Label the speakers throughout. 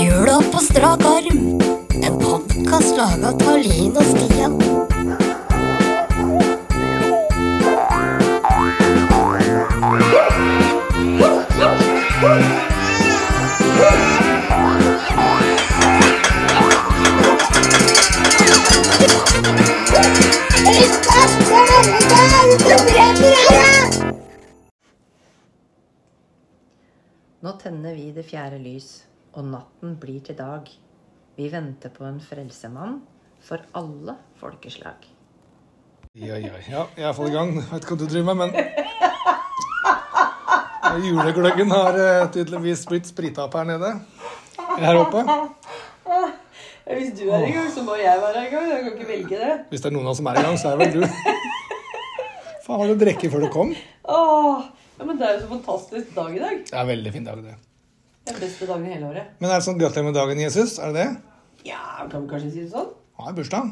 Speaker 1: Jula på strak arm. En podkast laga av Linn og Stian.
Speaker 2: Nå tenner vi det fjerde lys, og natten blir til dag. Vi venter på en frelsemann for alle folkeslag.
Speaker 3: Ja, ja, ja. Jeg er iallfall i gang. Jeg vet ikke hva du driver med, men Julegløggen har eh, tydeligvis blitt sprita opp her nede. Her oppe.
Speaker 4: Hvis du er i gang, så må jeg være i gang. Jeg kan ikke velge det.
Speaker 3: Hvis det er noen av oss som er i gang, så er det vel du. Faen, har du drukket før du kom?
Speaker 4: Åh, ja, men det er jo så fantastisk dag i dag.
Speaker 3: Det er en veldig fin dag, det.
Speaker 4: Den beste dagen i hele året.
Speaker 3: Men er det sånn gratulerer med dagen, Jesus? Er det det?
Speaker 4: Ja, kan vi kanskje si det sånn?
Speaker 3: Han har bursdag.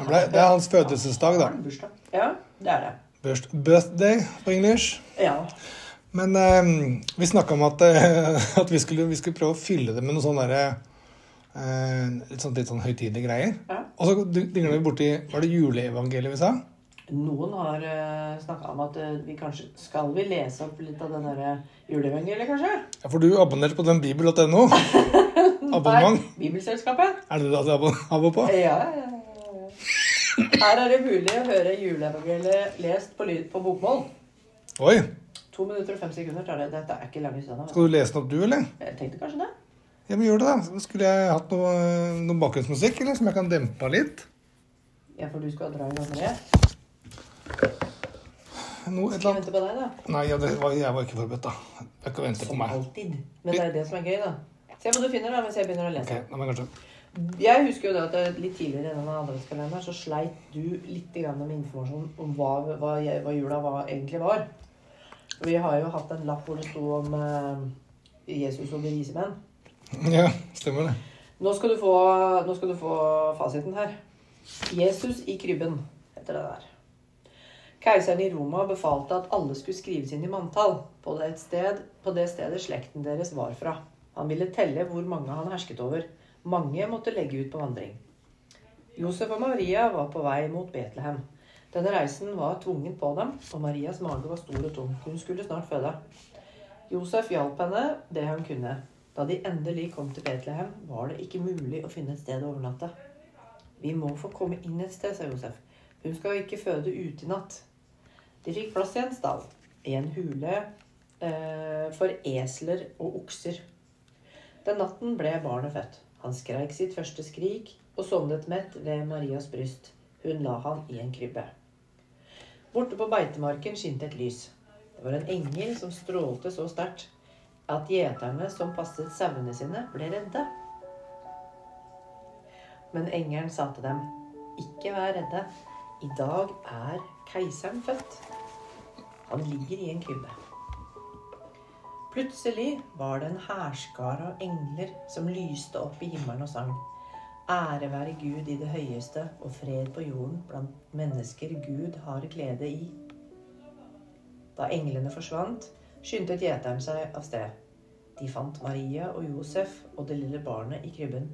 Speaker 3: Han ble, det er hans fødselsdag, da.
Speaker 4: Bursdag. Ja, det er det.
Speaker 3: Birth- Birthday på engelsk.
Speaker 4: Ja.
Speaker 3: Men eh, vi snakka om at, eh, at vi, skulle, vi skulle prøve å fylle det med noen sånne derre, eh, litt, sånn, litt sånn høytidelige greier.
Speaker 4: Ja.
Speaker 3: Og så dingla vi borti Var det juleevangeliet vi sa?
Speaker 4: Noen har uh, snakka om at eh, vi kanskje Skal vi lese opp litt av den derre juleevangeliet, kanskje?
Speaker 3: Ja, For du abonnerte på den bibel.no? Abonnement?
Speaker 4: Nei, Bibelselskapet?
Speaker 3: Er det det du hadde abo på?
Speaker 4: Ja, ja, ja, ja. ja. Her er det mulig å høre juleevangeliet lest på lyd på bokmål.
Speaker 3: Oi!
Speaker 4: To minutter og fem sekunder tar det. Dette er ikke lange stunder.
Speaker 3: Skal du lese den opp, du, eller?
Speaker 4: Jeg tenkte kanskje det.
Speaker 3: Ja, men Gjør det, da. Skulle jeg hatt noe, noe bakgrunnsmusikk eller, som jeg kan dempe av litt?
Speaker 4: Ja, for du skal dra i gang med det.
Speaker 3: Noe,
Speaker 4: Skal jeg
Speaker 3: et eller annet.
Speaker 4: vente på deg, da?
Speaker 3: Nei, ja, det var, jeg var ikke forberedt, da. Jeg kan vente på
Speaker 4: Som
Speaker 3: meg.
Speaker 4: alltid. Men det er det som er gøy, da. Se hva du finner, da, mens jeg begynner å
Speaker 3: Ok,
Speaker 4: lese.
Speaker 3: da må jeg kanskje...
Speaker 4: Jeg husker jo det at det litt tidligere i denne adventskalenderen så sleit du litt grann med informasjon om hva, hva, jeg, hva jula var, egentlig var. Vi har jo hatt en lapp hvor det sto om eh, Jesus og de vise menn.
Speaker 3: Ja, stemmer det.
Speaker 4: Nå skal, du få, nå skal du få fasiten her. Jesus i krybben, heter det der. Keiseren i Roma befalte at alle skulle skrives inn i manntall på det, et sted, på det stedet slekten deres var fra. Han ville telle hvor mange han hersket over. Mange måtte legge ut på vandring. Josef og Maria var på vei mot Betlehem. Denne reisen var tvungen på dem, og Marias mage var stor og tung. Hun skulle snart føde. Josef hjalp henne det han kunne. Da de endelig kom til Betlehem, var det ikke mulig å finne et sted å overnatte. Vi må få komme inn et sted, sa Josef. Hun skal ikke føde ute i natt. De fikk plass i en stall, i en hule eh, for esler og okser. Den natten ble barnet født. Han skreik sitt første skrik og sovnet mett ved Marias bryst. Hun la han i en krybbe. Borte på beitemarken skinte et lys. Det var en engel som strålte så sterkt at gjeterne som passet sauene sine, ble redde. Men engelen sa til dem, ikke vær redde. I dag er keiseren født. Han ligger i en krybbe. Plutselig var det en hærskare av engler som lyste opp i himmelen og sang. Ære være Gud i det høyeste og fred på jorden blant mennesker Gud har glede i. Da englene forsvant, skyndte gjeteren seg av sted. De fant Maria og Josef og det lille barnet i krybben.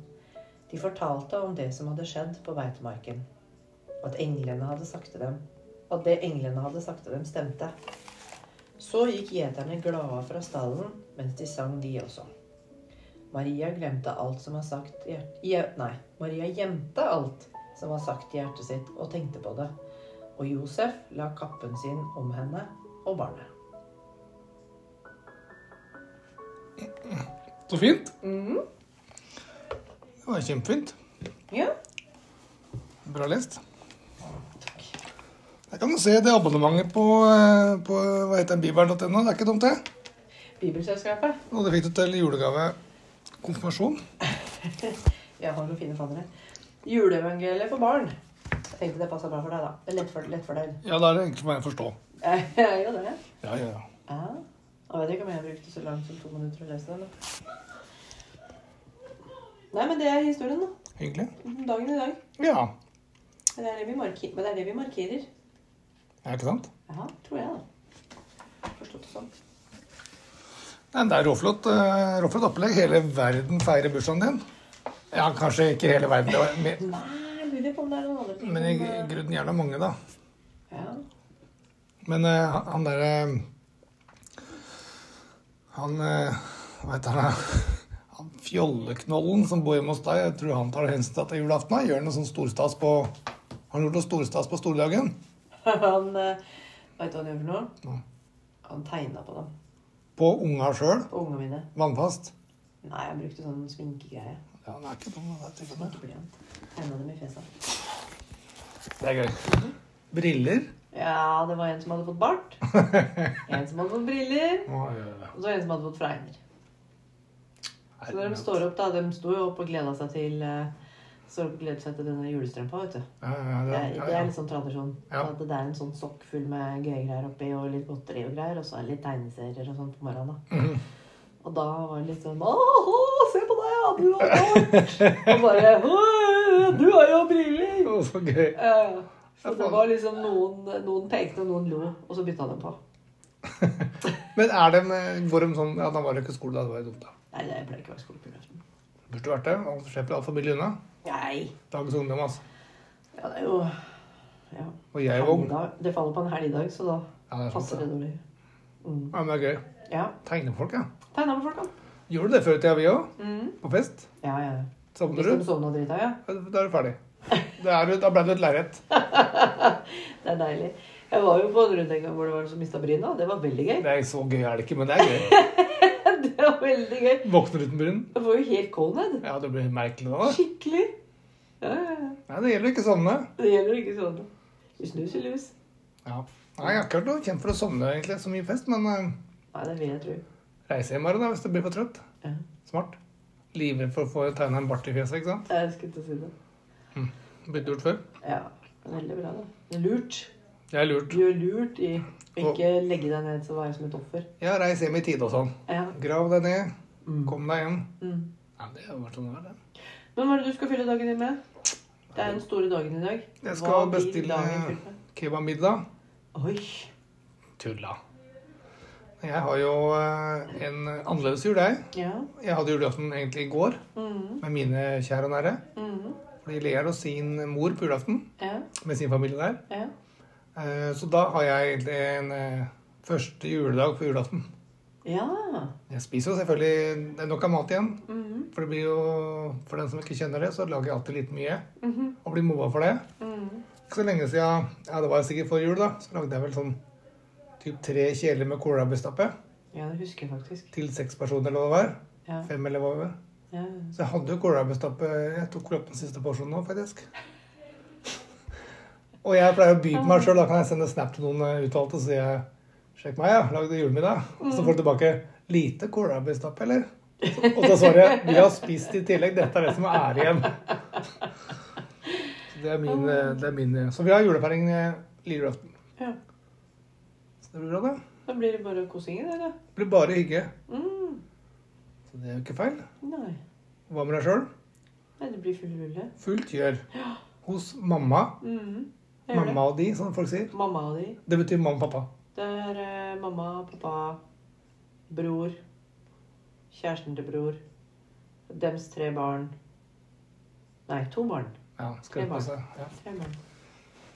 Speaker 4: De fortalte om det som hadde skjedd på beitemarken. At englene hadde sagt til dem. At det englene hadde sagt til dem, stemte. Så gikk gjeterne glade fra stallen mens de sang, de også. Maria glemte alt som var sagt i hjert- i hjer- Nei, Maria gjemte alt som var sagt i hjertet sitt, og tenkte på det. Og Josef la kappen sin om henne og barnet.
Speaker 3: Så fint. Det var kjempefint.
Speaker 4: Ja.
Speaker 3: Bra lest. Der kan du se det abonnementet på, eh, på hva heter den, bibelen.no. Det er ikke dumt, det.
Speaker 4: Bibelselskapet.
Speaker 3: Og det fikk du til julegave konfirmasjon.
Speaker 4: Jeg har noen fine fannere. Juleevangeliet for barn. Jeg tenkte det passa bra for deg, da. Det er Lett for, lett for deg.
Speaker 3: Ja, da er det enkelt for meg å forstå.
Speaker 4: Eh, Jeg gjør det.
Speaker 3: Ja, ja, ja.
Speaker 4: Ja. Jeg vet ikke om jeg brukte så langt som to minutter å lese den. da. Nei, men det er historien, da.
Speaker 3: Hyggelig.
Speaker 4: Dagen i dag.
Speaker 3: Ja.
Speaker 4: Men det er det vi, marki- men det er det vi markerer.
Speaker 3: ja. Ikke sant?
Speaker 4: Ja, tror jeg, da. Forstått det sånn.
Speaker 3: Nei, det er råflott, eh, råflott opplegg. Hele verden feirer bursdagen din. Ja, kanskje ikke hele verden, det var mer,
Speaker 4: Nei, jeg lurer på om det er noen andre ting
Speaker 3: men i
Speaker 4: som, eh,
Speaker 3: grunnen gjerne mange, da.
Speaker 4: ja.
Speaker 3: Men eh, han- han derre Han eh, Hva heter han? da? Han fjolleknollen som bor hjemme hos deg, jeg tror han tar hensyn til at det er julaften. da. Gjør han noe sånn storstas på Har han gjort noe storstas på stordagen?
Speaker 4: Han eh, Vet du hva han gjorde for noe?
Speaker 3: Nei.
Speaker 4: Han tegna på dem.
Speaker 3: På unga sjøl?
Speaker 4: På ungene mine.
Speaker 3: Vannfast?
Speaker 4: Nei, jeg brukte sånn sminkegreie.
Speaker 3: Ja, han er ikke dum. han er til og med.
Speaker 4: Ikke blyant. Tegna dem i fjeset.
Speaker 3: Det er gøy. Briller?
Speaker 4: Ja, det var en som hadde fått bart. En som hadde fått briller. Og så var det en som hadde fått fregner. Så når de står opp, da De sto jo opp og gleda seg til eh, Står opp og gleder seg til denne julestrømpa, vet du.
Speaker 3: Ja, ja,
Speaker 4: Det
Speaker 3: ja,
Speaker 4: er,
Speaker 3: ja,
Speaker 4: det er
Speaker 3: ja.
Speaker 4: litt sånn tradisjon.
Speaker 3: Ja.
Speaker 4: At det er en sånn sokk full med gøye greier oppi, og litt godteri og greier, og så er det litt tegneserier og sånn på morgenen. da.
Speaker 3: Mhm.
Speaker 4: Og da var det litt sånn Åh, se på deg, ja, du har bart! Og bare «Åh, Du har jo briller!
Speaker 3: Å, så gøy.
Speaker 4: Eh, Så det var liksom noen, noen pekte, og noen lo, og så bytta de på.
Speaker 3: Men er de, går de sånn Ja, da var det ikke skole, da. Det var jo dumt, da.
Speaker 4: Nei, det pleier ikke å være skole på julaften.
Speaker 3: Burde vært det. Man slipper all familie unna.
Speaker 4: Nei.
Speaker 3: Dagens ungdom, altså.
Speaker 4: Ja, det er jo ja.
Speaker 3: Og jeg var ung.
Speaker 4: Helligdag. Det faller på en helligdag, så da
Speaker 3: Ja, det er sant,
Speaker 4: passer
Speaker 3: det.
Speaker 4: det dårlig.
Speaker 3: Ja, men det er gøy.
Speaker 4: Ja.
Speaker 3: Tegnefolk, ja.
Speaker 4: Tegna med folk, da.
Speaker 3: Gjorde du det før i tida, vi òg?
Speaker 4: Mm.
Speaker 3: På fest?
Speaker 4: Ja, ja.
Speaker 3: Savner
Speaker 4: Hvis de
Speaker 3: du?
Speaker 4: sovna drita, ja.
Speaker 3: Ja, Da er du ferdig. Da, er du, da ble du et lerret.
Speaker 4: Det er deilig. Jeg var jo på en runde en gang hvor det var noen som mista bryna. Det var veldig gøy.
Speaker 3: Det er så gøy er det ikke, men det er gøy.
Speaker 4: Det var veldig gøy.
Speaker 3: Våkner uten bryn.
Speaker 4: Jeg var jo helt cold
Speaker 3: Ja, det blir merkelig da.
Speaker 4: Skikkelig. Ja, ja, ja.
Speaker 3: Nei, det gjelder ikke å sovne.
Speaker 4: Det gjelder ikke sånn. Du snus i lus.
Speaker 3: Ja. Nei, jeg har ikke vært noe kjent for å sovne egentlig, så mye fest, men eh,
Speaker 4: Nei, det vil jeg tro.
Speaker 3: reise hjem i morgen da, hvis du blir for trøtt.
Speaker 4: Ja.
Speaker 3: Smart. Livredd for å få tegna en bart i fjeset, ikke sant?
Speaker 4: Jeg skulle til å si det.
Speaker 3: Blitt lurt før.
Speaker 4: Ja. Veldig bra, da. Det er lurt.
Speaker 3: Jeg er lurt.
Speaker 4: Du gjør lurt i å ikke legge deg ned så være som et offer.
Speaker 3: Ja, reis hjem i tide og sånn.
Speaker 4: Ja.
Speaker 3: Grav deg ned. Kom deg hjem.
Speaker 4: Mm.
Speaker 3: Ja, det har vært sånn det var, det.
Speaker 4: Men hva er det du skal fylle dagen din med? Det er den store dagen i dag.
Speaker 3: Jeg
Speaker 4: Hva
Speaker 3: skal eh,
Speaker 4: blir
Speaker 3: bestille
Speaker 4: dagen fylt med?
Speaker 3: kebabmiddag.
Speaker 4: Oi!
Speaker 3: Tulla. Jeg har jo eh, en annerledes jul, jeg.
Speaker 4: Ja.
Speaker 3: Jeg hadde julaften egentlig i går
Speaker 4: Mhm,
Speaker 3: med mine kjære og nære.
Speaker 4: mhm.
Speaker 3: Fordi Lea og sin mor på julaften
Speaker 4: Ja.
Speaker 3: med sin familie der.
Speaker 4: Ja.
Speaker 3: Eh, Så da har jeg egentlig en eh, første juledag på julaften.
Speaker 4: ja.
Speaker 3: Jeg spiser jo selvfølgelig det er nok av mat igjen.
Speaker 4: Mhm,
Speaker 3: For det blir jo, for den som ikke kjenner det, så lager jeg alltid litt mye.
Speaker 4: mhm,
Speaker 3: Og blir mobba for det.
Speaker 4: mhm.
Speaker 3: Ikke så lenge siden, ja det var sikkert for jul da, så lagde jeg vel sånn typ tre kjeler med kålrabistappe.
Speaker 4: Ja, det husker jeg faktisk.
Speaker 3: Til seks personer eller hva det var.
Speaker 4: Ja.
Speaker 3: Fem eller hva det var.
Speaker 4: ja.
Speaker 3: Så jeg hadde jo kålrabistappe eh, Jeg tok opp den siste porsjonen nå, faktisk. Og jeg pleier å by på meg sjøl. Da kan jeg sende snap til noen eh, uttalte og si eh, Sjekk meg, ja. Lagde julemiddag. Og så får du tilbake Lite kålrabistappe, eller? Så- Og da svarer jeg Vi har spist i tillegg. Dette er det som er igjen. Så det er min, eh, det er min eh, Så vi har julefeiring eh, lille julaften.
Speaker 4: ja.
Speaker 3: Så det blir bra, det.
Speaker 4: Da blir det bare kosingen, eller?
Speaker 3: Det blir bare hygge.
Speaker 4: Mm.
Speaker 3: Så det er jo ikke feil.
Speaker 4: Nei.
Speaker 3: Hva med deg sjøl?
Speaker 4: Nei, det blir full rulle.
Speaker 3: Fullt gjør. Hos mamma.
Speaker 4: Mhm. Jeg gjør det.
Speaker 3: Mamma og de, som folk sier.
Speaker 4: Mamma og de.
Speaker 3: Det betyr mamma og pappa.
Speaker 4: Det er eh, mamma, pappa, bror, kjæresten til bror, dems tre barn. Nei, to barn.
Speaker 3: Ja, skal jeg
Speaker 4: Tre barn.
Speaker 3: passe. Ja.
Speaker 4: Tre barn.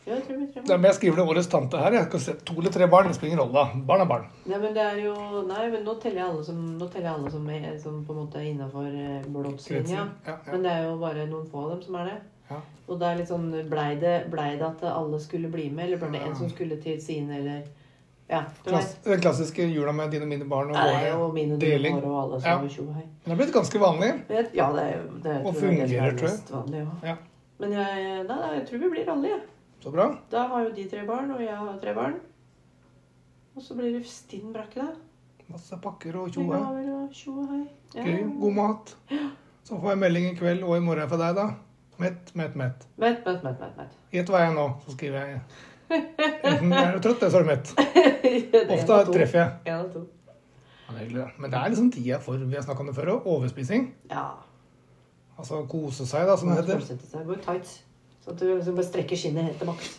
Speaker 4: Ja, jeg tror vi tre
Speaker 3: Det
Speaker 4: barn.
Speaker 3: er med jeg skriver det årets tante her. Jeg skal se to eller tre barn. Det spiller ingen rolle. da. Barn er barn.
Speaker 4: Nei, men det er jo Nei, men nå teller jeg alle som, nå teller jeg alle som, er, som på en måte er innafor blåtslinja.
Speaker 3: Kretsen. Ja, ja.
Speaker 4: Men det er jo bare noen få av dem som er det.
Speaker 3: Ja.
Speaker 4: Og det er litt sånn Blei det, blei det at alle skulle bli med, eller ble det
Speaker 3: Ja.
Speaker 4: en som skulle til sine, eller Ja. Du
Speaker 3: Mm. Klass,
Speaker 4: vet.
Speaker 3: den klassiske jula med dine og mine barn og
Speaker 4: Det er jo
Speaker 3: våre.
Speaker 4: mine
Speaker 3: Deling.
Speaker 4: damer og alle
Speaker 3: Ja.
Speaker 4: som er tjo og hei.
Speaker 3: Den er blitt ganske vanlig.
Speaker 4: Det- Ja, det, er jo- det er-
Speaker 3: Og
Speaker 4: tror jeg det som er
Speaker 3: fungerer, tror jeg.
Speaker 4: mest vanlig, ja.
Speaker 3: Ja.
Speaker 4: Men jeg, nei, nei, jeg tror vi blir alle, jeg.
Speaker 3: Så bra.
Speaker 4: Da har jo de tre barn, og jeg har tre barn. Og så blir det stinn brakke, da.
Speaker 3: Masse pakker og tjo
Speaker 4: Med
Speaker 3: her.
Speaker 4: gaver og tjo og hei. Ja.
Speaker 3: Gøy. God mat. Så får jeg melding i kveld og i morgen fra deg, da. Mett, mett, mett.
Speaker 4: Vent, vent, vent, vent, vent.
Speaker 3: Gjett hva jeg er nå, så skriver jeg. Enten er du trøtt, eller så er du mett.
Speaker 4: Det en
Speaker 3: Ofte
Speaker 4: av to.
Speaker 3: treffer jeg.
Speaker 4: En av to.
Speaker 3: Ja, det er hyggelig, da. Men det er liksom tida for vi har snakket om det før, og overspising.
Speaker 4: Ja.
Speaker 3: Altså kose seg, da, som det
Speaker 4: Man
Speaker 3: heter.
Speaker 4: fortsette seg. Gå i tights. Så at du liksom bare strekker skinnet helt til maks.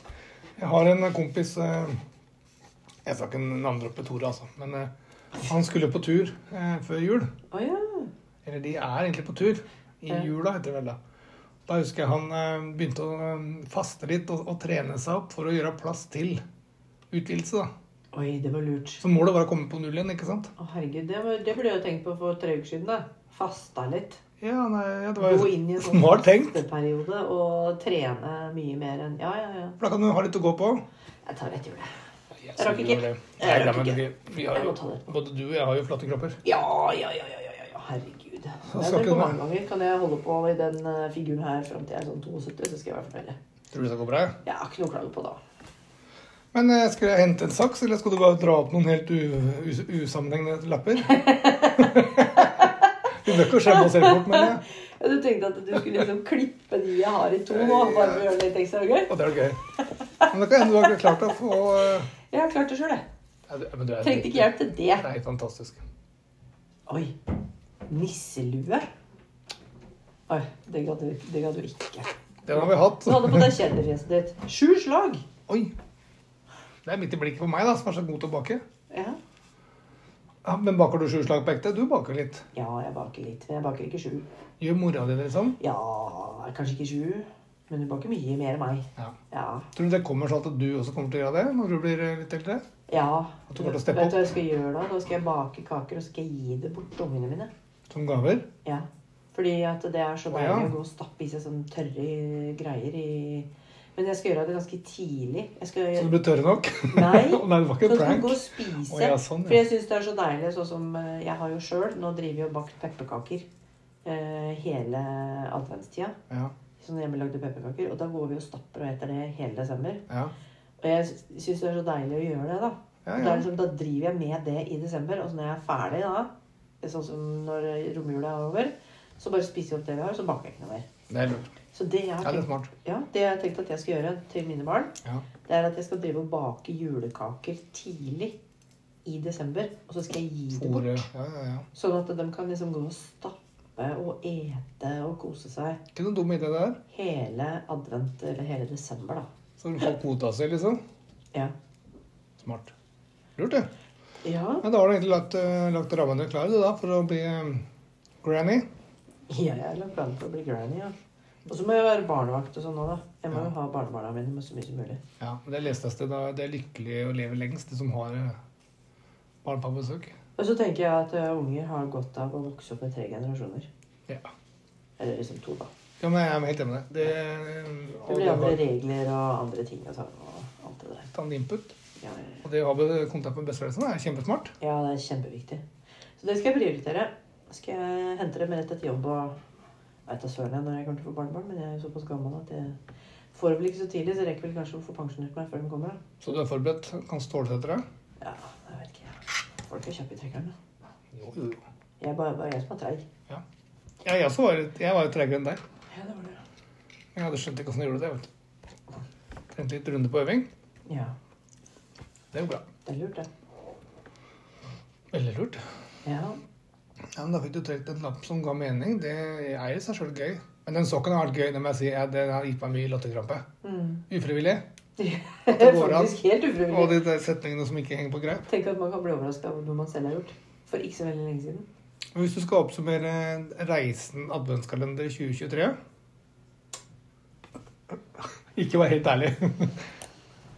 Speaker 3: Jeg har en kompis eh, Jeg skal ikke navndroppe Tore, altså. Men eh, Han skulle på tur eh, før jul.
Speaker 4: Å ja.
Speaker 3: Eller de er egentlig på tur. I
Speaker 4: Ja.
Speaker 3: jula, heter det vel. Da Da husker jeg han eh, begynte å eh, faste litt og, og trene seg opp for å gjøre plass til utvidelse. da.
Speaker 4: Oi, det var lurt.
Speaker 3: Så målet var å komme på null igjen, ikke sant?
Speaker 4: Å, herregud, det, var, det burde jeg jo tenkt på for tre uker siden. da. Fasta litt.
Speaker 3: Ja, nei, ja, det var
Speaker 4: Gå
Speaker 3: jo
Speaker 4: inn i en sånn
Speaker 3: smart tenkt.
Speaker 4: fasteperiode og trene mye mer enn Ja, ja, ja.
Speaker 3: For da kan du ha litt å gå på.
Speaker 4: Jeg tar et hjul, jeg.
Speaker 3: Jeg
Speaker 4: rakk ikke.
Speaker 3: Nei,
Speaker 4: Jeg
Speaker 3: da,
Speaker 4: rakk
Speaker 3: men vi,
Speaker 4: ikke.
Speaker 3: vi har
Speaker 4: Jeg må
Speaker 3: jo,
Speaker 4: ta det.
Speaker 3: både du og jeg har jo flotte kropper.
Speaker 4: Ja, ja, ja, ja, ja, ja, ja. herregud.
Speaker 3: skal
Speaker 4: Jeg tror på
Speaker 3: ikke det
Speaker 4: mange ganger kan jeg holde på i den eh, figuren her fram til jeg er sånn 72, så skal jeg være fornøyd.
Speaker 3: Tror du det går bra? ja?
Speaker 4: Jeg har ikke noe å klage på da.
Speaker 3: Men eh, skal jeg hente en saks, eller skal du bare dra opp noen helt u- u- usammenhengende lapper? du bør ikke skjemme oss helt bort, men jeg.
Speaker 4: Ja, du tenkte at du skulle liksom klippe de jeg har i to nå, bare for å gjøre det litt ekstra gøy?
Speaker 3: Og det er jo gøy. Men det kan hende du har ikke klart å få eh,
Speaker 4: Jeg har klart det sjøl, jeg.
Speaker 3: ja, du- men du er
Speaker 4: Trengte ikke hjelp til det.
Speaker 3: Nei, fantastisk.
Speaker 4: Oi. Nisselue. Oi, det ga du, det ga du ikke.
Speaker 3: Den har vi hatt.
Speaker 4: Du hadde på deg kjeledresset ditt. Sju slag.
Speaker 3: Oi. Det er midt i blikket på meg, da, som er så god til å bake.
Speaker 4: Ja.
Speaker 3: Ja, men baker du sju slag på ekte? Du baker litt.
Speaker 4: ja, jeg baker litt, men jeg baker ikke sju.
Speaker 3: Gjør mora di det sånn?
Speaker 4: Ja, kanskje ikke sju, men du baker mye mer enn meg.
Speaker 3: Ja.
Speaker 4: Ja.
Speaker 3: Tror du det kommer sånn at du også kommer til å gjøre det når du blir eh, litt eldre?
Speaker 4: ja.
Speaker 3: At du
Speaker 4: Vet
Speaker 3: kommer til
Speaker 4: vet du
Speaker 3: å steppe
Speaker 4: hva
Speaker 3: opp?
Speaker 4: jeg skal gjøre da? Da skal jeg bake kaker, og så skal jeg gi det bort til ungene mine.
Speaker 3: Som gaver?
Speaker 4: Ja. Fordi at det er så
Speaker 3: Å,
Speaker 4: deilig
Speaker 3: ja.
Speaker 4: å gå og stappe i seg sånne tørre greier i Men jeg skal gjøre det ganske tidlig. Jeg skal
Speaker 3: Så du blir tørre nok?
Speaker 4: Nei.
Speaker 3: Å, Nei, det
Speaker 4: Så
Speaker 3: var ikke
Speaker 4: du
Speaker 3: en
Speaker 4: kan gå
Speaker 3: prank.
Speaker 4: og spise.
Speaker 3: Å, ja, sånn, ja.
Speaker 4: For jeg syns det er så deilig, sånn som eh, jeg har jo sjøl. Nå driver jeg og bakt pepperkaker eh, hele adventstida.
Speaker 3: Ja,
Speaker 4: Sånn hjemmelagde pepperkaker. Og da går vi og stapper og eter det hele desember.
Speaker 3: ja.
Speaker 4: Og jeg syns det er så deilig å gjøre det, da.
Speaker 3: Ja,
Speaker 4: Og Da,
Speaker 3: ja.
Speaker 4: er det liksom, da driver jeg med det i desember. Og så når jeg er ferdig da, det er sånn som når romjula er over, så bare spiser jeg opp det vi har, så baker jeg ikke noe mer.
Speaker 3: Det er lurt.
Speaker 4: Så det jeg har
Speaker 3: Ja, det er
Speaker 4: tenkt,
Speaker 3: smart.
Speaker 4: ja, det jeg har tenkt at jeg skal gjøre til mine barn,
Speaker 3: Ja.
Speaker 4: det er at jeg skal drive og bake julekaker tidlig i desember. Og så skal jeg gi det bort.
Speaker 3: Fôre. Ja, ja, ja.
Speaker 4: Sånn at de kan liksom gå og stappe og ete og kose seg
Speaker 3: Ikke noen dum idé det der.
Speaker 4: hele advent, eller hele desember, da.
Speaker 3: Så du får kvota si, liksom.
Speaker 4: Ja.
Speaker 3: Smart. Lurt, det.
Speaker 4: Ja,
Speaker 3: Ja, da har du egentlig lagt, eh, lagt rammene klare du, da, for å bli eh, granny.
Speaker 4: jeg har lagt planer for å bli granny, ja. Og så må jeg være barnevakt og sånn nå, da. Jeg må jo ha barnebarna mine med så mye som mulig.
Speaker 3: Ja, men Det leses det da. Det er lykkelig å leve lengst, de som har eh, barn på besøk.
Speaker 4: Og så tenker jeg at eh, unger har godt av å vokse opp med tre generasjoner.
Speaker 3: Ja.
Speaker 4: Eller liksom to, da.
Speaker 3: ja, men jeg er helt enig med deg.
Speaker 4: Det blir
Speaker 3: Det, og
Speaker 4: andre
Speaker 3: det har
Speaker 4: regler og andre ting og sånn. og alt det der.
Speaker 3: tatt en input.
Speaker 4: Ja, ja, ja.
Speaker 3: Og det å ha be- kontakt med besteforeldrene er kjempesmart.
Speaker 4: Ja, det er kjempeviktig. Så det skal jeg prioritere. Skal jeg hente dem rett etter jobb og Jeg vet da søren jeg når jeg kommer til å få barnebarn, men jeg er jo såpass gammel at jeg får det vel ikke så tidlig, så jeg rekker vel kanskje å få pensjonert meg før de kommer. da.
Speaker 3: Så du er forberedt? Kan stålsette deg?
Speaker 4: Ja, jeg vet ikke. Folk er kjappe i trekkeren. da.
Speaker 3: Jo, jo, jo.
Speaker 4: Jeg er bare, bare jeg som er treig.
Speaker 3: Ja. Ja, jeg også var litt- jeg var jo tregere enn deg.
Speaker 4: Ja, det var det.
Speaker 3: Jeg hadde skjønt ikke åssen du gjorde det. vet du. Tenkte litt runde på øving.
Speaker 4: Ja,
Speaker 3: Det er jo bra.
Speaker 4: det er lurt, det.
Speaker 3: Veldig lurt.
Speaker 4: Ja.
Speaker 3: Ja, men Da fikk du trukket en lapp som ga mening. Det er i seg sjøl gøy. Men den sokken har vært gøy. Det må jeg si. Ja, Den har gitt meg mye latterkrampe.
Speaker 4: Mm.
Speaker 3: Ufrivillig.
Speaker 4: Det er
Speaker 3: går an.
Speaker 4: faktisk helt
Speaker 3: Og
Speaker 4: ufrivillig.
Speaker 3: de der setningene som ikke henger på greip.
Speaker 4: Tenk at man kan bli overraska over noe man selv har gjort. For ikke så veldig lenge siden.
Speaker 3: Og Hvis du skal oppsummere reisen adventskalender 2023 Ikke vær helt ærlig.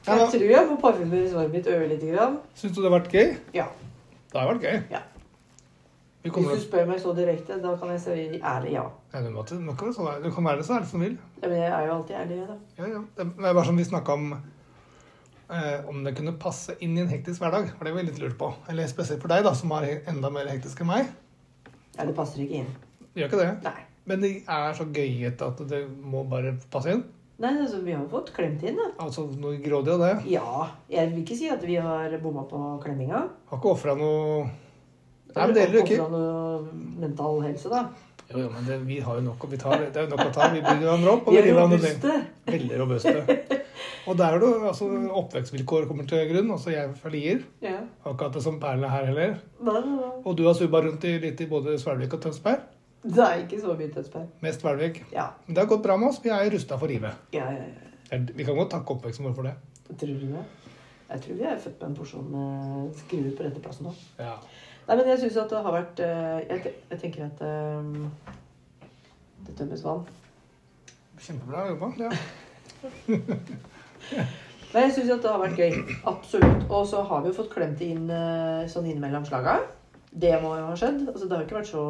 Speaker 3: Ja,
Speaker 4: Jeg tror jeg får parfymer i svaret mitt ørlite grann.
Speaker 3: Syns du det har vært gøy?
Speaker 4: Ja.
Speaker 3: Det har vært gøy.
Speaker 4: Ja.
Speaker 3: Vi kommer
Speaker 4: Hvis du
Speaker 3: til
Speaker 4: spør meg så direkte, da kan jeg si ærlig ja.
Speaker 3: Nei, du må ikke- du må ikke være så ærlig. Du kan være så ærlig som du vil.
Speaker 4: Ja, Men jeg er jo alltid ærlig, jeg, da.
Speaker 3: Ja, ja. Det var bare som vi snakka om eh, om det kunne passe inn i en hektisk hverdag. For det var jeg litt lurt på. Eller spesielt for deg, da, som er he- enda mer hektisk enn meg.
Speaker 4: Ja, det passer ikke inn.
Speaker 3: Det gjør ikke det.
Speaker 4: Nei.
Speaker 3: Men det er så gøyete at det må bare passe inn.
Speaker 4: Nei, altså, Vi har jo fått klemt inn, da.
Speaker 3: Altså noe grådig av det.
Speaker 4: Ja. Jeg vil ikke si at vi har bomma på klemminga.
Speaker 3: Har ikke ofra noe Nei, men det gjelder jo ikke.
Speaker 4: Også noe mental helse, da.
Speaker 3: Jo, jo, men det, vi har jo nok, å- vi tar, det er jo nok å ta. Vi bygger hverandre opp, og
Speaker 4: Vi
Speaker 3: vi
Speaker 4: er
Speaker 3: river hverandre ned.
Speaker 4: robuste.
Speaker 3: Veldig robuste. Og der er det jo altså, oppvekstvilkår kommer til grunn. Altså jeg fra Lier.
Speaker 4: Ja.
Speaker 3: Har ikke hatt det som perle her heller.
Speaker 4: Da, da, da.
Speaker 3: Og du har subba rundt i, litt i både Svelvik og Tønsberg.
Speaker 4: Det er ikke så mye dødsbær.
Speaker 3: Mest Svelvik.
Speaker 4: Ja.
Speaker 3: Men det har gått bra med oss. Vi er rusta for livet.
Speaker 4: Ja, ja, ja.
Speaker 3: Det er- Vi kan godt takke oppveksten vår for det.
Speaker 4: Tror du det? Jeg tror vi er født med en porsjon med skruer på rette plassen nå.
Speaker 3: Ja.
Speaker 4: Nei, men jeg syns at det har vært eh, Jeg, te- jeg tenker at eh, det tømmes vann.
Speaker 3: Kjempebra jobba. Ja.
Speaker 4: Nei, jeg syns at det har vært gøy. Absolutt. Og så har vi jo fått klemt det inn eh, sånn innimellom slaga. Det må jo ha skjedd. Altså, det har jo ikke vært så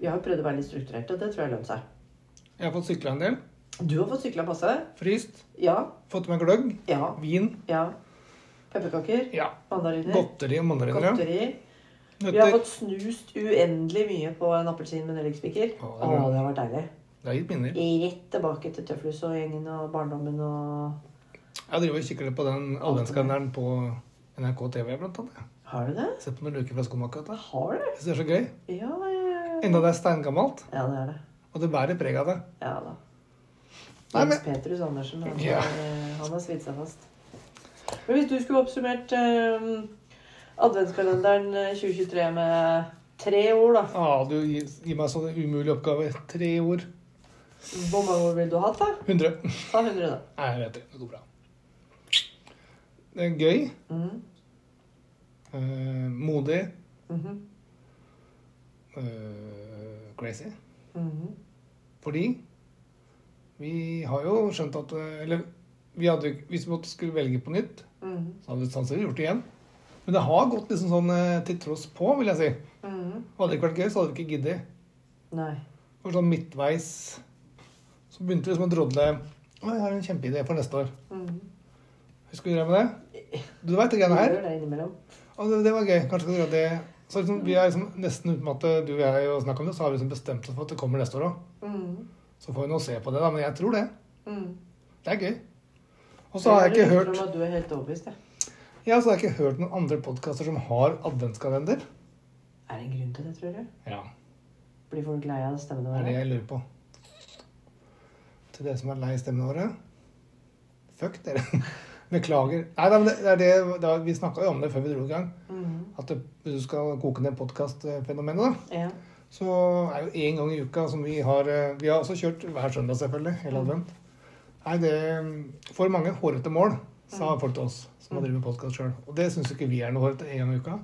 Speaker 4: Vi har jo prøvd å være litt strukturerte. Det tror jeg lønner seg.
Speaker 3: Jeg har fått sykla en del.
Speaker 4: Du har fått sykla passe.
Speaker 3: Fryst.
Speaker 4: Ja.
Speaker 3: Fått i meg gløgg.
Speaker 4: Ja.
Speaker 3: Vin.
Speaker 4: Ja. Pepperkaker.
Speaker 3: Ja.
Speaker 4: Mandariner.
Speaker 3: Godteri og mandariner.
Speaker 4: Godteri.
Speaker 3: ja.
Speaker 4: Vi har
Speaker 3: Nøtter.
Speaker 4: fått snust uendelig mye på en appelsin med nellikspiker.
Speaker 3: Å,
Speaker 4: Å,
Speaker 3: det er
Speaker 4: det
Speaker 3: bra.
Speaker 4: har vært deilig.
Speaker 3: Det er gitt minner.
Speaker 4: Rett tilbake til Tøflus og gjengen og barndommen og
Speaker 3: Jeg driver og kikker litt på den adventskalenderen på NRK TV, blant annet.
Speaker 4: Har du det?
Speaker 3: Sett på noen luker fra skomakka.
Speaker 4: Har du det?
Speaker 3: Jeg synes det er så gøy.
Speaker 4: Ja, ja, ja.
Speaker 3: Enda det er steingammelt,
Speaker 4: ja det er det.
Speaker 3: og det bærer preg av det.
Speaker 4: Ja da.
Speaker 3: Nei,
Speaker 4: Jens
Speaker 3: men-
Speaker 4: Petrus Andersen, han,
Speaker 3: Ja.
Speaker 4: har- han har svidd seg fast. Men hvis du skulle oppsummert eh, adventskalenderen eh, 2023 med tre ord, da.
Speaker 3: Ah, du gir, gir meg sånne umulige oppgaver. Tre ord.
Speaker 4: Hvor mange ord ville du hatt, da?
Speaker 3: 100.
Speaker 4: Ta 100, da.
Speaker 3: Nei, jeg vet det. Det går bra. Det er gøy.
Speaker 4: Mm.
Speaker 3: eh, modig.
Speaker 4: Mhm.
Speaker 3: eh, crazy.
Speaker 4: Mhm.
Speaker 3: Fordi vi har jo skjønt at eh, Eller vi hadde, jo ikke- hvis vi måtte skulle velge på nytt,
Speaker 4: Mhm.
Speaker 3: så hadde vi sannsynligvis gjort det igjen. Men det har gått liksom sånn eh, til tross på, vil jeg si.
Speaker 4: Mhm.
Speaker 3: Hadde det ikke vært gøy, så hadde vi ikke giddet.
Speaker 4: Nei.
Speaker 3: For sånn midtveis så begynte vi liksom å drodle. Å, jeg har en kjempeidé for neste år.
Speaker 4: Mhm.
Speaker 3: Husker du det med det? Du veit de greiene her?
Speaker 4: Gjør det innimellom.
Speaker 3: Og det, det var gøy. Kanskje skal du gjøre det. Så liksom, vi er liksom nesten uten at du og jeg har snakket om det, så har vi liksom bestemt oss for at det kommer neste år òg.
Speaker 4: Mhm.
Speaker 3: Så får vi nå se på det, da. Men jeg tror det.
Speaker 4: Mhm.
Speaker 3: Det er gøy. Og så har jeg ikke
Speaker 4: hører
Speaker 3: hørt
Speaker 4: om at du er helt overbevist, jeg.
Speaker 3: Ja, så har jeg ikke hørt noen andre podkaster som har adventskalender.
Speaker 4: Er det en grunn til det, tror du?
Speaker 3: Ja.
Speaker 4: Blir folk lei av stemmene
Speaker 3: Det er
Speaker 4: våre?
Speaker 3: det jeg lurer på. Til dere som er lei stemmene våre Fuck dere. Beklager. Nei, nei, men det, det er det, da, vi snakka jo om det før vi dro i gang.
Speaker 4: Mhm.
Speaker 3: At det, hvis du skal koke ned podkastfenomenet, da.
Speaker 4: Ja.
Speaker 3: Så er jo én gang i uka som vi har eh, Vi har også kjørt hver søndag, selvfølgelig. Hele advent. Nei, det er for mange hårete mål, sa folk til oss som har drevet podkast sjøl. Og det syns jo ikke vi er noe hårete én gang i uka.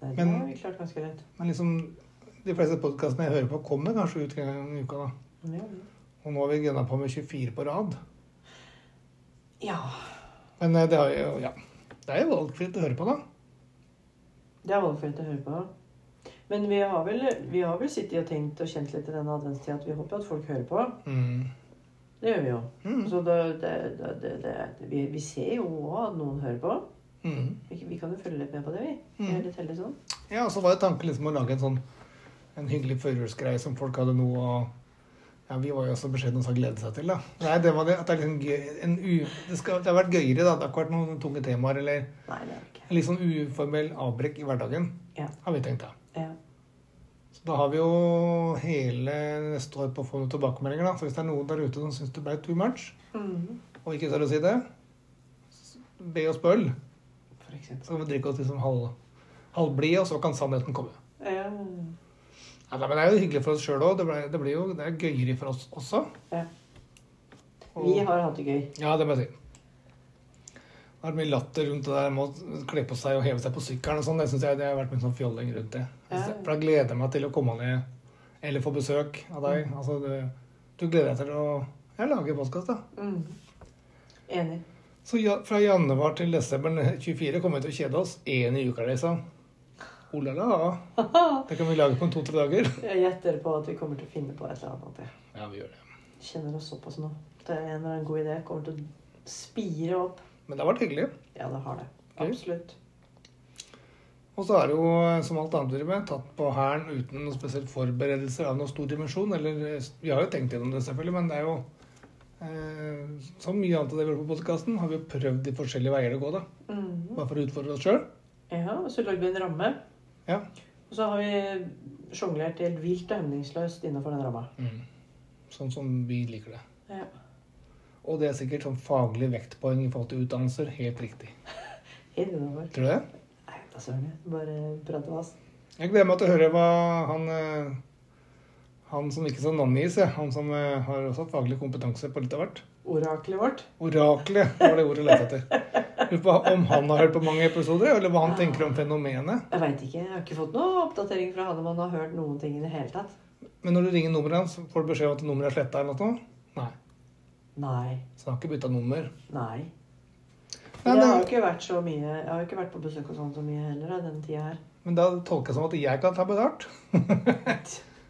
Speaker 4: Nei, det
Speaker 3: Men-
Speaker 4: har vi klart ganske lett.
Speaker 3: Men liksom de fleste podkastene jeg hører på, kommer kanskje ut en gang i uka, da.
Speaker 4: Ja.
Speaker 3: Og nå har vi gønna på med 24 på rad.
Speaker 4: ja.
Speaker 3: Men eh, det, har jo, ja. det er jo valgfritt å høre på, da.
Speaker 4: Det er valgfritt å høre på. Men vi har vel, vi har vel sittet og tenkt og kjent litt i denne adventstida at vi håper jo at folk hører på.
Speaker 3: Mm.
Speaker 4: Det gjør vi jo.
Speaker 3: Mm.
Speaker 4: Så det, det, det, det, det, vi, vi ser jo også at noen hører på.
Speaker 3: Mm.
Speaker 4: Vi, vi kan jo følge litt med på det, vi. Vi er litt heldige sånn.
Speaker 3: Ja, og så var jo tanken liksom å lage en sånn en hyggelig førjulsgreie som folk hadde noe å ja, Vi var jo også beskjedne og sa glede seg til, da. Nei, det var det. At det, er liksom gøy, en u, det, skal, det har vært gøyere, da. Det har ikke vært noen tunge temaer eller
Speaker 4: Nei, det er vi ikke.
Speaker 3: en litt sånn uformell avbrekk i hverdagen,
Speaker 4: Ja.
Speaker 3: har vi tenkt, da.
Speaker 4: Ja.
Speaker 3: Så da har vi jo hele neste år på å få noen tilbakemeldinger, da. Så hvis det er noen der ute som syns det ble too much,
Speaker 4: Mhm.
Speaker 3: og ikke tør å si det, s- be oss på øl.
Speaker 4: For eksempel.
Speaker 3: Så vi drikker oss liksom halv, halvblide, og så kan sannheten komme.
Speaker 4: Ja.
Speaker 3: Ja, nei, men Det er jo hyggelig for oss sjøl òg. Det, ble- det, blir jo- det er gøyere for oss også.
Speaker 4: ja.
Speaker 3: Og-
Speaker 4: Vi har hatt det gøy.
Speaker 3: Ja, det må jeg si. Det har vært mye latter rundt det der med å kle på seg og heve seg på sykkelen og sånn. Det synes jeg det har vært mye sånn fjolling rundt det. Jeg synes det- For da gleder jeg meg til å komme ned eller få besøk av deg.
Speaker 4: Mm.
Speaker 3: Altså, du, du gleder deg til å ja, lage podkast, da.
Speaker 4: Mhm. Enig.
Speaker 3: Så ja, fra januar til desember 24 kommer vi til å kjede oss én i uka, liksom. Oh la la. Det kan vi lage på en to-tre dager.
Speaker 4: Jeg gjetter på at vi kommer til å finne på et eller annet. ja.
Speaker 3: Ja, vi gjør det.
Speaker 4: Kjenner oss såpass nå. Det er en eller annen god idé. Kommer til å spire opp.
Speaker 3: Men det har vært hyggelig.
Speaker 4: Ja, det har det.
Speaker 3: Gøy.
Speaker 4: Absolutt.
Speaker 3: Og så er det jo, som alt annet vi driver med, tatt på hæren uten noen spesiell forberedelser av noen stor dimensjon. Eller eh, vi har jo tenkt gjennom det, selvfølgelig, men det er jo eh, Som mye annet av det vi gjør på podkasten, har vi jo prøvd de forskjellige veier å gå, da.
Speaker 4: Mhm.
Speaker 3: Bare for å utfordre oss sjøl.
Speaker 4: Ja, og så lagde vi en ramme.
Speaker 3: Ja.
Speaker 4: Og så har vi sjonglert helt vilt og hemningsløst innenfor den ramma.
Speaker 3: Sånn som vi liker det.
Speaker 4: Ja.
Speaker 3: Og det er sikkert sånn faglig vektpoeng i forhold til utdannelser. Helt riktig.
Speaker 4: Helt innover.
Speaker 3: Tror du det?
Speaker 4: Nei, da søren. jeg. Bare prate med oss.
Speaker 3: Jeg gleder meg til å høre hva han eh, han som ikke så navngis, ja. han som eh, har også faglig kompetanse på litt av hvert.
Speaker 4: oraklet vårt.
Speaker 3: Oraklet var det ordet jeg lette etter. Lurer på om han har hørt på mange episoder, eller hva han tenker om fenomenet.
Speaker 4: Jeg veit ikke. Jeg har ikke fått noe oppdatering fra han om han har hørt noen ting i det hele tatt.
Speaker 3: Men når du ringer nummeret hans, får du beskjed om at nummeret er sletta eller noe? Nei.
Speaker 4: Nei.
Speaker 3: Så han har ikke bytta nummer.
Speaker 4: Nei.
Speaker 3: Nei,
Speaker 4: jeg har
Speaker 3: det-
Speaker 4: jo ikke vært så mye Jeg har jo ikke vært på besøk og sånn så mye heller da, den tida her.
Speaker 3: Men da tolker jeg som at jeg kan ta betalt.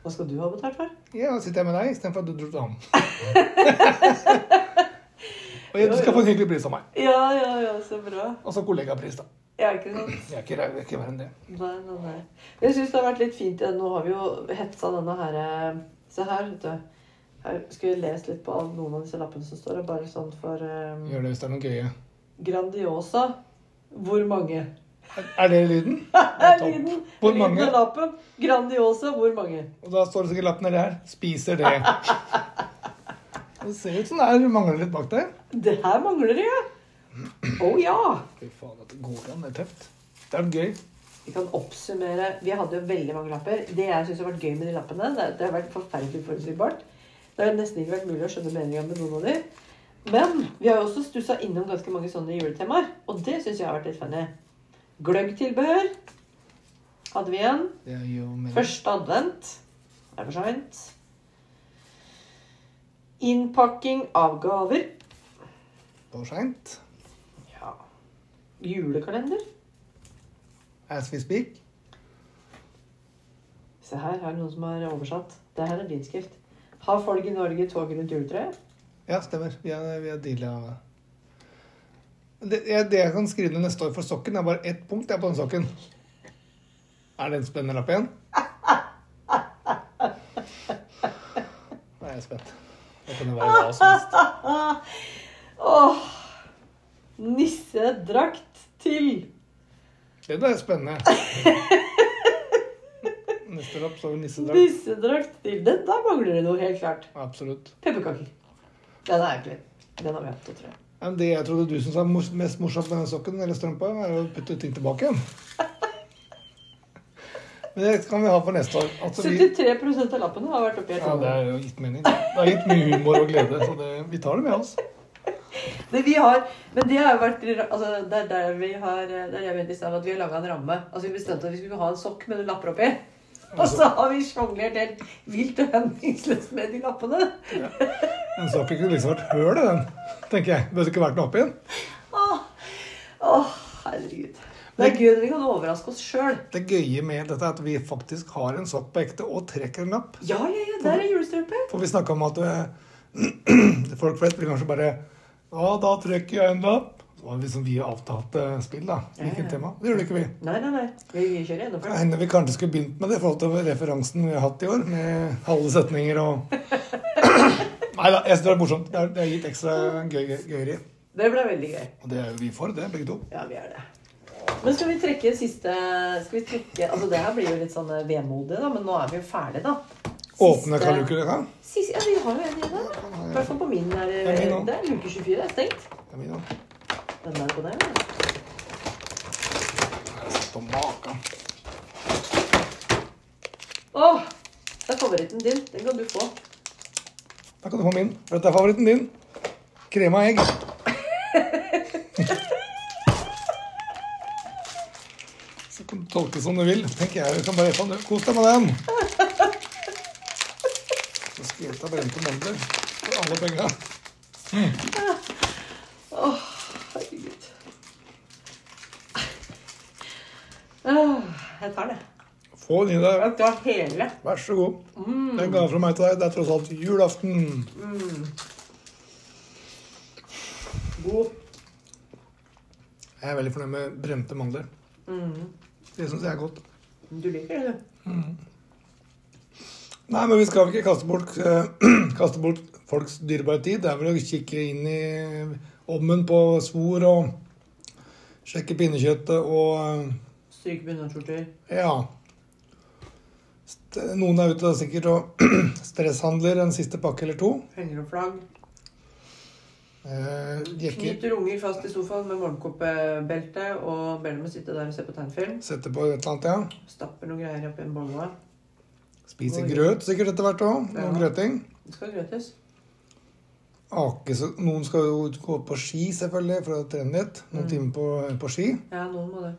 Speaker 4: Hva skal du ha betalt for?
Speaker 3: Ja, da sitter jeg med deg istedenfor at du dro til ham. Og jeg- du skal få en hyggelig pris av meg.
Speaker 4: Ja, ja, ja, så bra.
Speaker 3: Altså kollegapris, da.
Speaker 4: Ja, ikke sant?
Speaker 3: Jeg er ikke, jeg er ikke verre enn det.
Speaker 4: Nei, nei, nei. Men Jeg syns det har vært litt fint. i den. Nå har vi jo hetsa denne her eh, Se her, vet du. Her skulle jeg lest litt på all- noen av disse lappene som står her, bare sånn for eh,
Speaker 3: Gjør det hvis det er noe gøye.
Speaker 4: Grandiosa. Hvor mange?
Speaker 3: Er- Er det lyden?
Speaker 4: Er
Speaker 3: topp.
Speaker 4: lyden
Speaker 3: Hvor
Speaker 4: lyden
Speaker 3: mange?
Speaker 4: av lappen? Grandiosa, hvor mange?
Speaker 3: Og da står det sikkert lapp nedi her. Spiser det. Det ser ut som det er, mangler litt bak der.
Speaker 4: Det her mangler det, ja. Å ja!
Speaker 3: Fy faen, dette går an. Det er tøft. Det er gøy.
Speaker 4: Vi kan oppsummere. Vi hadde jo veldig mange lapper. Det jeg synes har vært gøy med de lappene, det, er at det har vært forferdelig forutsigbart. Det har nesten ikke vært mulig å skjønne meninga med noen av de. Men vi har jo også stussa innom ganske mange sånne juletemaer, og det syns jeg har vært litt funny. Gløggtilbehør hadde vi en.
Speaker 3: Det er jo mer-
Speaker 4: Første advent er for seint. Innpakking av gaver.
Speaker 3: for seint.
Speaker 4: Ja. Julekalender.
Speaker 3: As we speak.
Speaker 4: Se her, her er noen som har oversatt. Det her er din skrift. Har folk i Norge tog rundt juletreet?
Speaker 3: Ja, stemmer. Vi har, vi har deala det, jeg- det jeg kan skrive ned neste år for sokken, er bare ett punkt jeg er på den sokken. Er det en spennende lapp igjen? Nå er jeg spent. Det kan jo være hva som helst.
Speaker 4: Åh! Nissedrakt til!
Speaker 3: Det er spennende. Neste lapp står det nissedrakt.
Speaker 4: Nissedrakt til. Den der mangler det noe, helt klart.
Speaker 3: Absolutt.
Speaker 4: Pepperkaker. Den er egentlig. Den har vi hatt, tror jeg.
Speaker 3: Ja, Men det jeg trodde du syntes var mors- mest morsomt med den sokken eller strømpa, er å putte ting tilbake igjen. Men det kan vi ha for neste år. Altså, vi,
Speaker 4: 73 av lappene har vært oppi her.
Speaker 3: ja, det er jo gitt mening. Det har gitt mye humor og glede, så det, vi tar det med oss.
Speaker 4: Men vi har, men det har jo vært altså, Det er der vi har eh, Det er det jeg mente i stad, at vi har laga en ramme. Altså Vi bestemte at vi skulle ha en sokk med noen lapper oppi. Og så har vi sjonglert helt vilt og henvisningsløst med de lappene.
Speaker 3: Den sokken kunne liksom vært høl i den, tenker jeg. Burde ikke vært noe oppi den.
Speaker 4: Åh, åh, herregud. Det er gøy når vi kan overraske oss sjøl.
Speaker 3: Det gøye med dette er at vi faktisk har en sokk på ekte og trekker en lapp.
Speaker 4: Ja, ja, ja, der er julestrømpe.
Speaker 3: For vi snakka om at eh, folk flest vil kanskje bare Ja, da trekker jeg en lapp. Det var liksom vi avtalte spill, da. Hvilket tema. Det gjorde ikke vi.
Speaker 4: Nei, nei, nei. Vi, vi kjører gjennom
Speaker 3: Det
Speaker 4: for det.
Speaker 3: hender vi kanskje skulle begynt med det i forhold til referansen vi har hatt i år. Med halve setninger og Nei da, jeg syns det er morsomt. Det er, det er gitt ekstra gøy, gøy, gøyeri.
Speaker 4: Det ble veldig gøy.
Speaker 3: Og det er jo vi for, det, begge to.
Speaker 4: Ja, vi er det. Men skal vi trekke siste Skal vi trekke Altså, det her blir jo litt sånn eh, vemodig, da, men nå er vi jo ferdig, da.
Speaker 3: Åpne
Speaker 4: Siste-
Speaker 3: kaluker, ja.
Speaker 4: Siste, ja, vi har jo en i dag. I hvert fall på min er det
Speaker 3: Det er min også.
Speaker 4: Det er luke 24. Det er stengt.
Speaker 3: Det er min òg.
Speaker 4: Den der på den. ja. Åh, det er favoritten din. Den kan du få.
Speaker 3: Da kan du få min. For dette er favoritten din. Krem av egg. Så kan du tolke som du vil. Tenker jeg, du kan bare faen, Kos deg med den. Så skal jeg ta brente mandler for alle penga.
Speaker 4: Herregud. Åh, Jeg tar det.
Speaker 3: Få den i deg.
Speaker 4: Jeg tar hele.
Speaker 3: Vær så god. Det er en gave fra meg til deg. Det er tross alt julaften.
Speaker 4: God.
Speaker 3: Jeg er veldig fornøyd med brente mandler.
Speaker 4: Mm.
Speaker 3: Det syns jeg er godt.
Speaker 4: Du liker det, du.
Speaker 3: Nei, men vi skal ikke kaste bort, eh, kaste bort folks dyrebare tid. Det er vel å kikke inn i ommen på svor og sjekke pinnekjøttet og eh,
Speaker 4: Stryk bunadsskjorter.
Speaker 3: ja. St- Noen er ute sikkert og stresshandler en siste pakke eller to.
Speaker 4: Henger opp flagg.
Speaker 3: Eh, Jekker.
Speaker 4: Knyter unger fast i sofaen med morgenkåpebelte og ber dem å sitte der og se på tegnfilm.
Speaker 3: Setter på et eller annet,
Speaker 4: Stapper noen greier oppi en bolle.
Speaker 3: ja. Spiser grøt sikkert etter hvert òg.
Speaker 4: Ja.
Speaker 3: Noen grøting.
Speaker 4: Det skal grøtes.
Speaker 3: ake så Noen skal jo gå på ski, selvfølgelig, for å trene litt. Noen timer på, på ski.
Speaker 4: Ja, noen må det.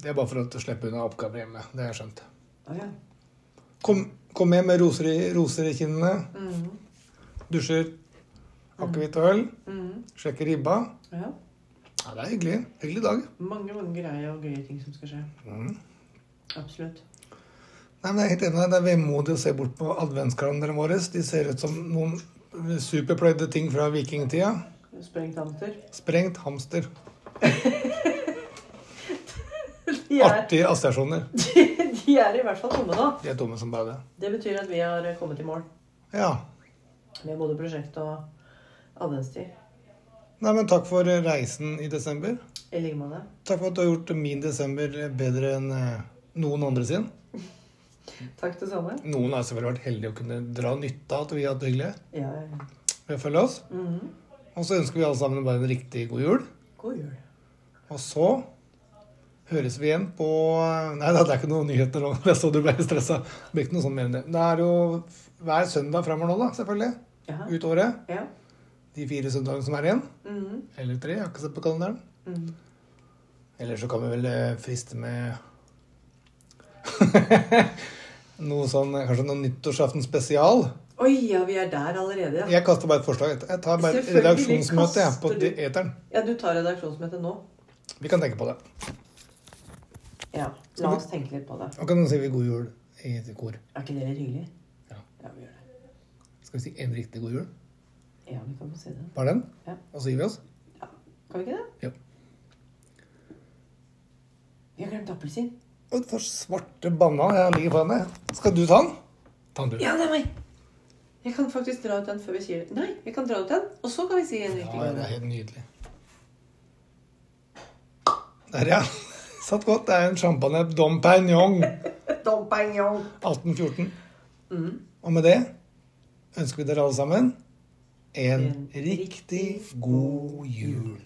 Speaker 3: Det er bare for å slippe unna oppgaver hjemme. Det har jeg skjønt.
Speaker 4: Å ja.
Speaker 3: Kom, kom hjem med roser i, roser i kinnene.
Speaker 4: Mm.
Speaker 3: Dusjer. Akevitt og øl.
Speaker 4: Mm.
Speaker 3: Sjekker ribba.
Speaker 4: ja.
Speaker 3: Ja, det er hyggelig. Hyggelig dag. Mm.
Speaker 4: Mange, mange greie og gøye ting som skal skje. Absolutt.
Speaker 3: Nei, men jeg er helt enig. Det er vemodig å se bort på adventskalenderen vår. De ser ut som noen superpløyde ting fra vikingtida.
Speaker 4: Sprengt hamster.
Speaker 3: Sprengt hamster.
Speaker 4: De er,
Speaker 3: Artige assosiasjoner.
Speaker 4: de er i hvert fall tomme nå.
Speaker 3: De er dumme som bare det.
Speaker 4: Det betyr at vi har kommet i mål
Speaker 3: Ja.
Speaker 4: med både prosjekt og adventstid.
Speaker 3: Nei, men takk for reisen i desember.
Speaker 4: I like måte.
Speaker 3: Takk for at du har gjort min desember bedre enn eh, noen andre sin.
Speaker 4: Takk det samme.
Speaker 3: Noen har selvfølgelig vært heldige å kunne dra nytte av at vi har hatt det hyggelig
Speaker 4: Ja, ja.
Speaker 3: ved å følge oss.
Speaker 4: Mm-hmm.
Speaker 3: Og så ønsker vi alle sammen bare en riktig god jul.
Speaker 4: god jul.
Speaker 3: Og så høres vi igjen på Nei da, det er ikke noen nyheter nå. Jeg så du ble stressa. Det blir ikke noe sånn mer enn det. Det er jo hver søndag framover nå, da, selvfølgelig.
Speaker 4: Ja.
Speaker 3: Ut året.
Speaker 4: ja.
Speaker 3: De fire søndagene som er igjen.
Speaker 4: Mhm.
Speaker 3: Eller tre. Jeg har ikke sett på kalenderen.
Speaker 4: Mhm.
Speaker 3: Eller så kan vi vel eh, friste med noe sånn Kanskje noe nyttårsaften spesial.
Speaker 4: Oi, ja, vi er der allerede, ja.
Speaker 3: Jeg kaster bare et forslag. jeg. Jeg tar bare et
Speaker 4: Selvfølgelig
Speaker 3: redaksjonsmøte jeg, på
Speaker 4: kaster du.
Speaker 3: eteren.
Speaker 4: Ja, du tar redaksjonsmøte nå.
Speaker 3: Vi kan tenke på det.
Speaker 4: Ja, la oss tenke litt på det.
Speaker 3: Og kan sier vi god jul i et kor.
Speaker 4: Er ikke det litt hyggelig?
Speaker 3: Ja.
Speaker 4: Ja, vi gjør det.
Speaker 3: Skal vi si en riktig god jul?
Speaker 4: Ja, vi kan få si det.
Speaker 3: Bare den?
Speaker 4: Ja.
Speaker 3: Og så gir vi oss?
Speaker 4: Ja. Kan vi ikke det?
Speaker 3: Ja.
Speaker 4: Vi har glemt appelsin.
Speaker 3: Og for svarte banan jeg ligger foran deg. Skal du ta den? Ta den, du.
Speaker 4: Ja, det er meg! Jeg kan faktisk dra ut den før vi sier det. Nei, jeg kan dra ut den, og så kan vi si en riktig
Speaker 3: Ja,
Speaker 4: gang.
Speaker 3: det er helt nydelig. Der, ja. Satt godt. Det er en champagne Dom Pignon
Speaker 4: Dom Pignon.
Speaker 3: 1814.
Speaker 4: Mm.
Speaker 3: Og med det ønsker vi dere alle sammen en
Speaker 4: En
Speaker 3: riktig god jul.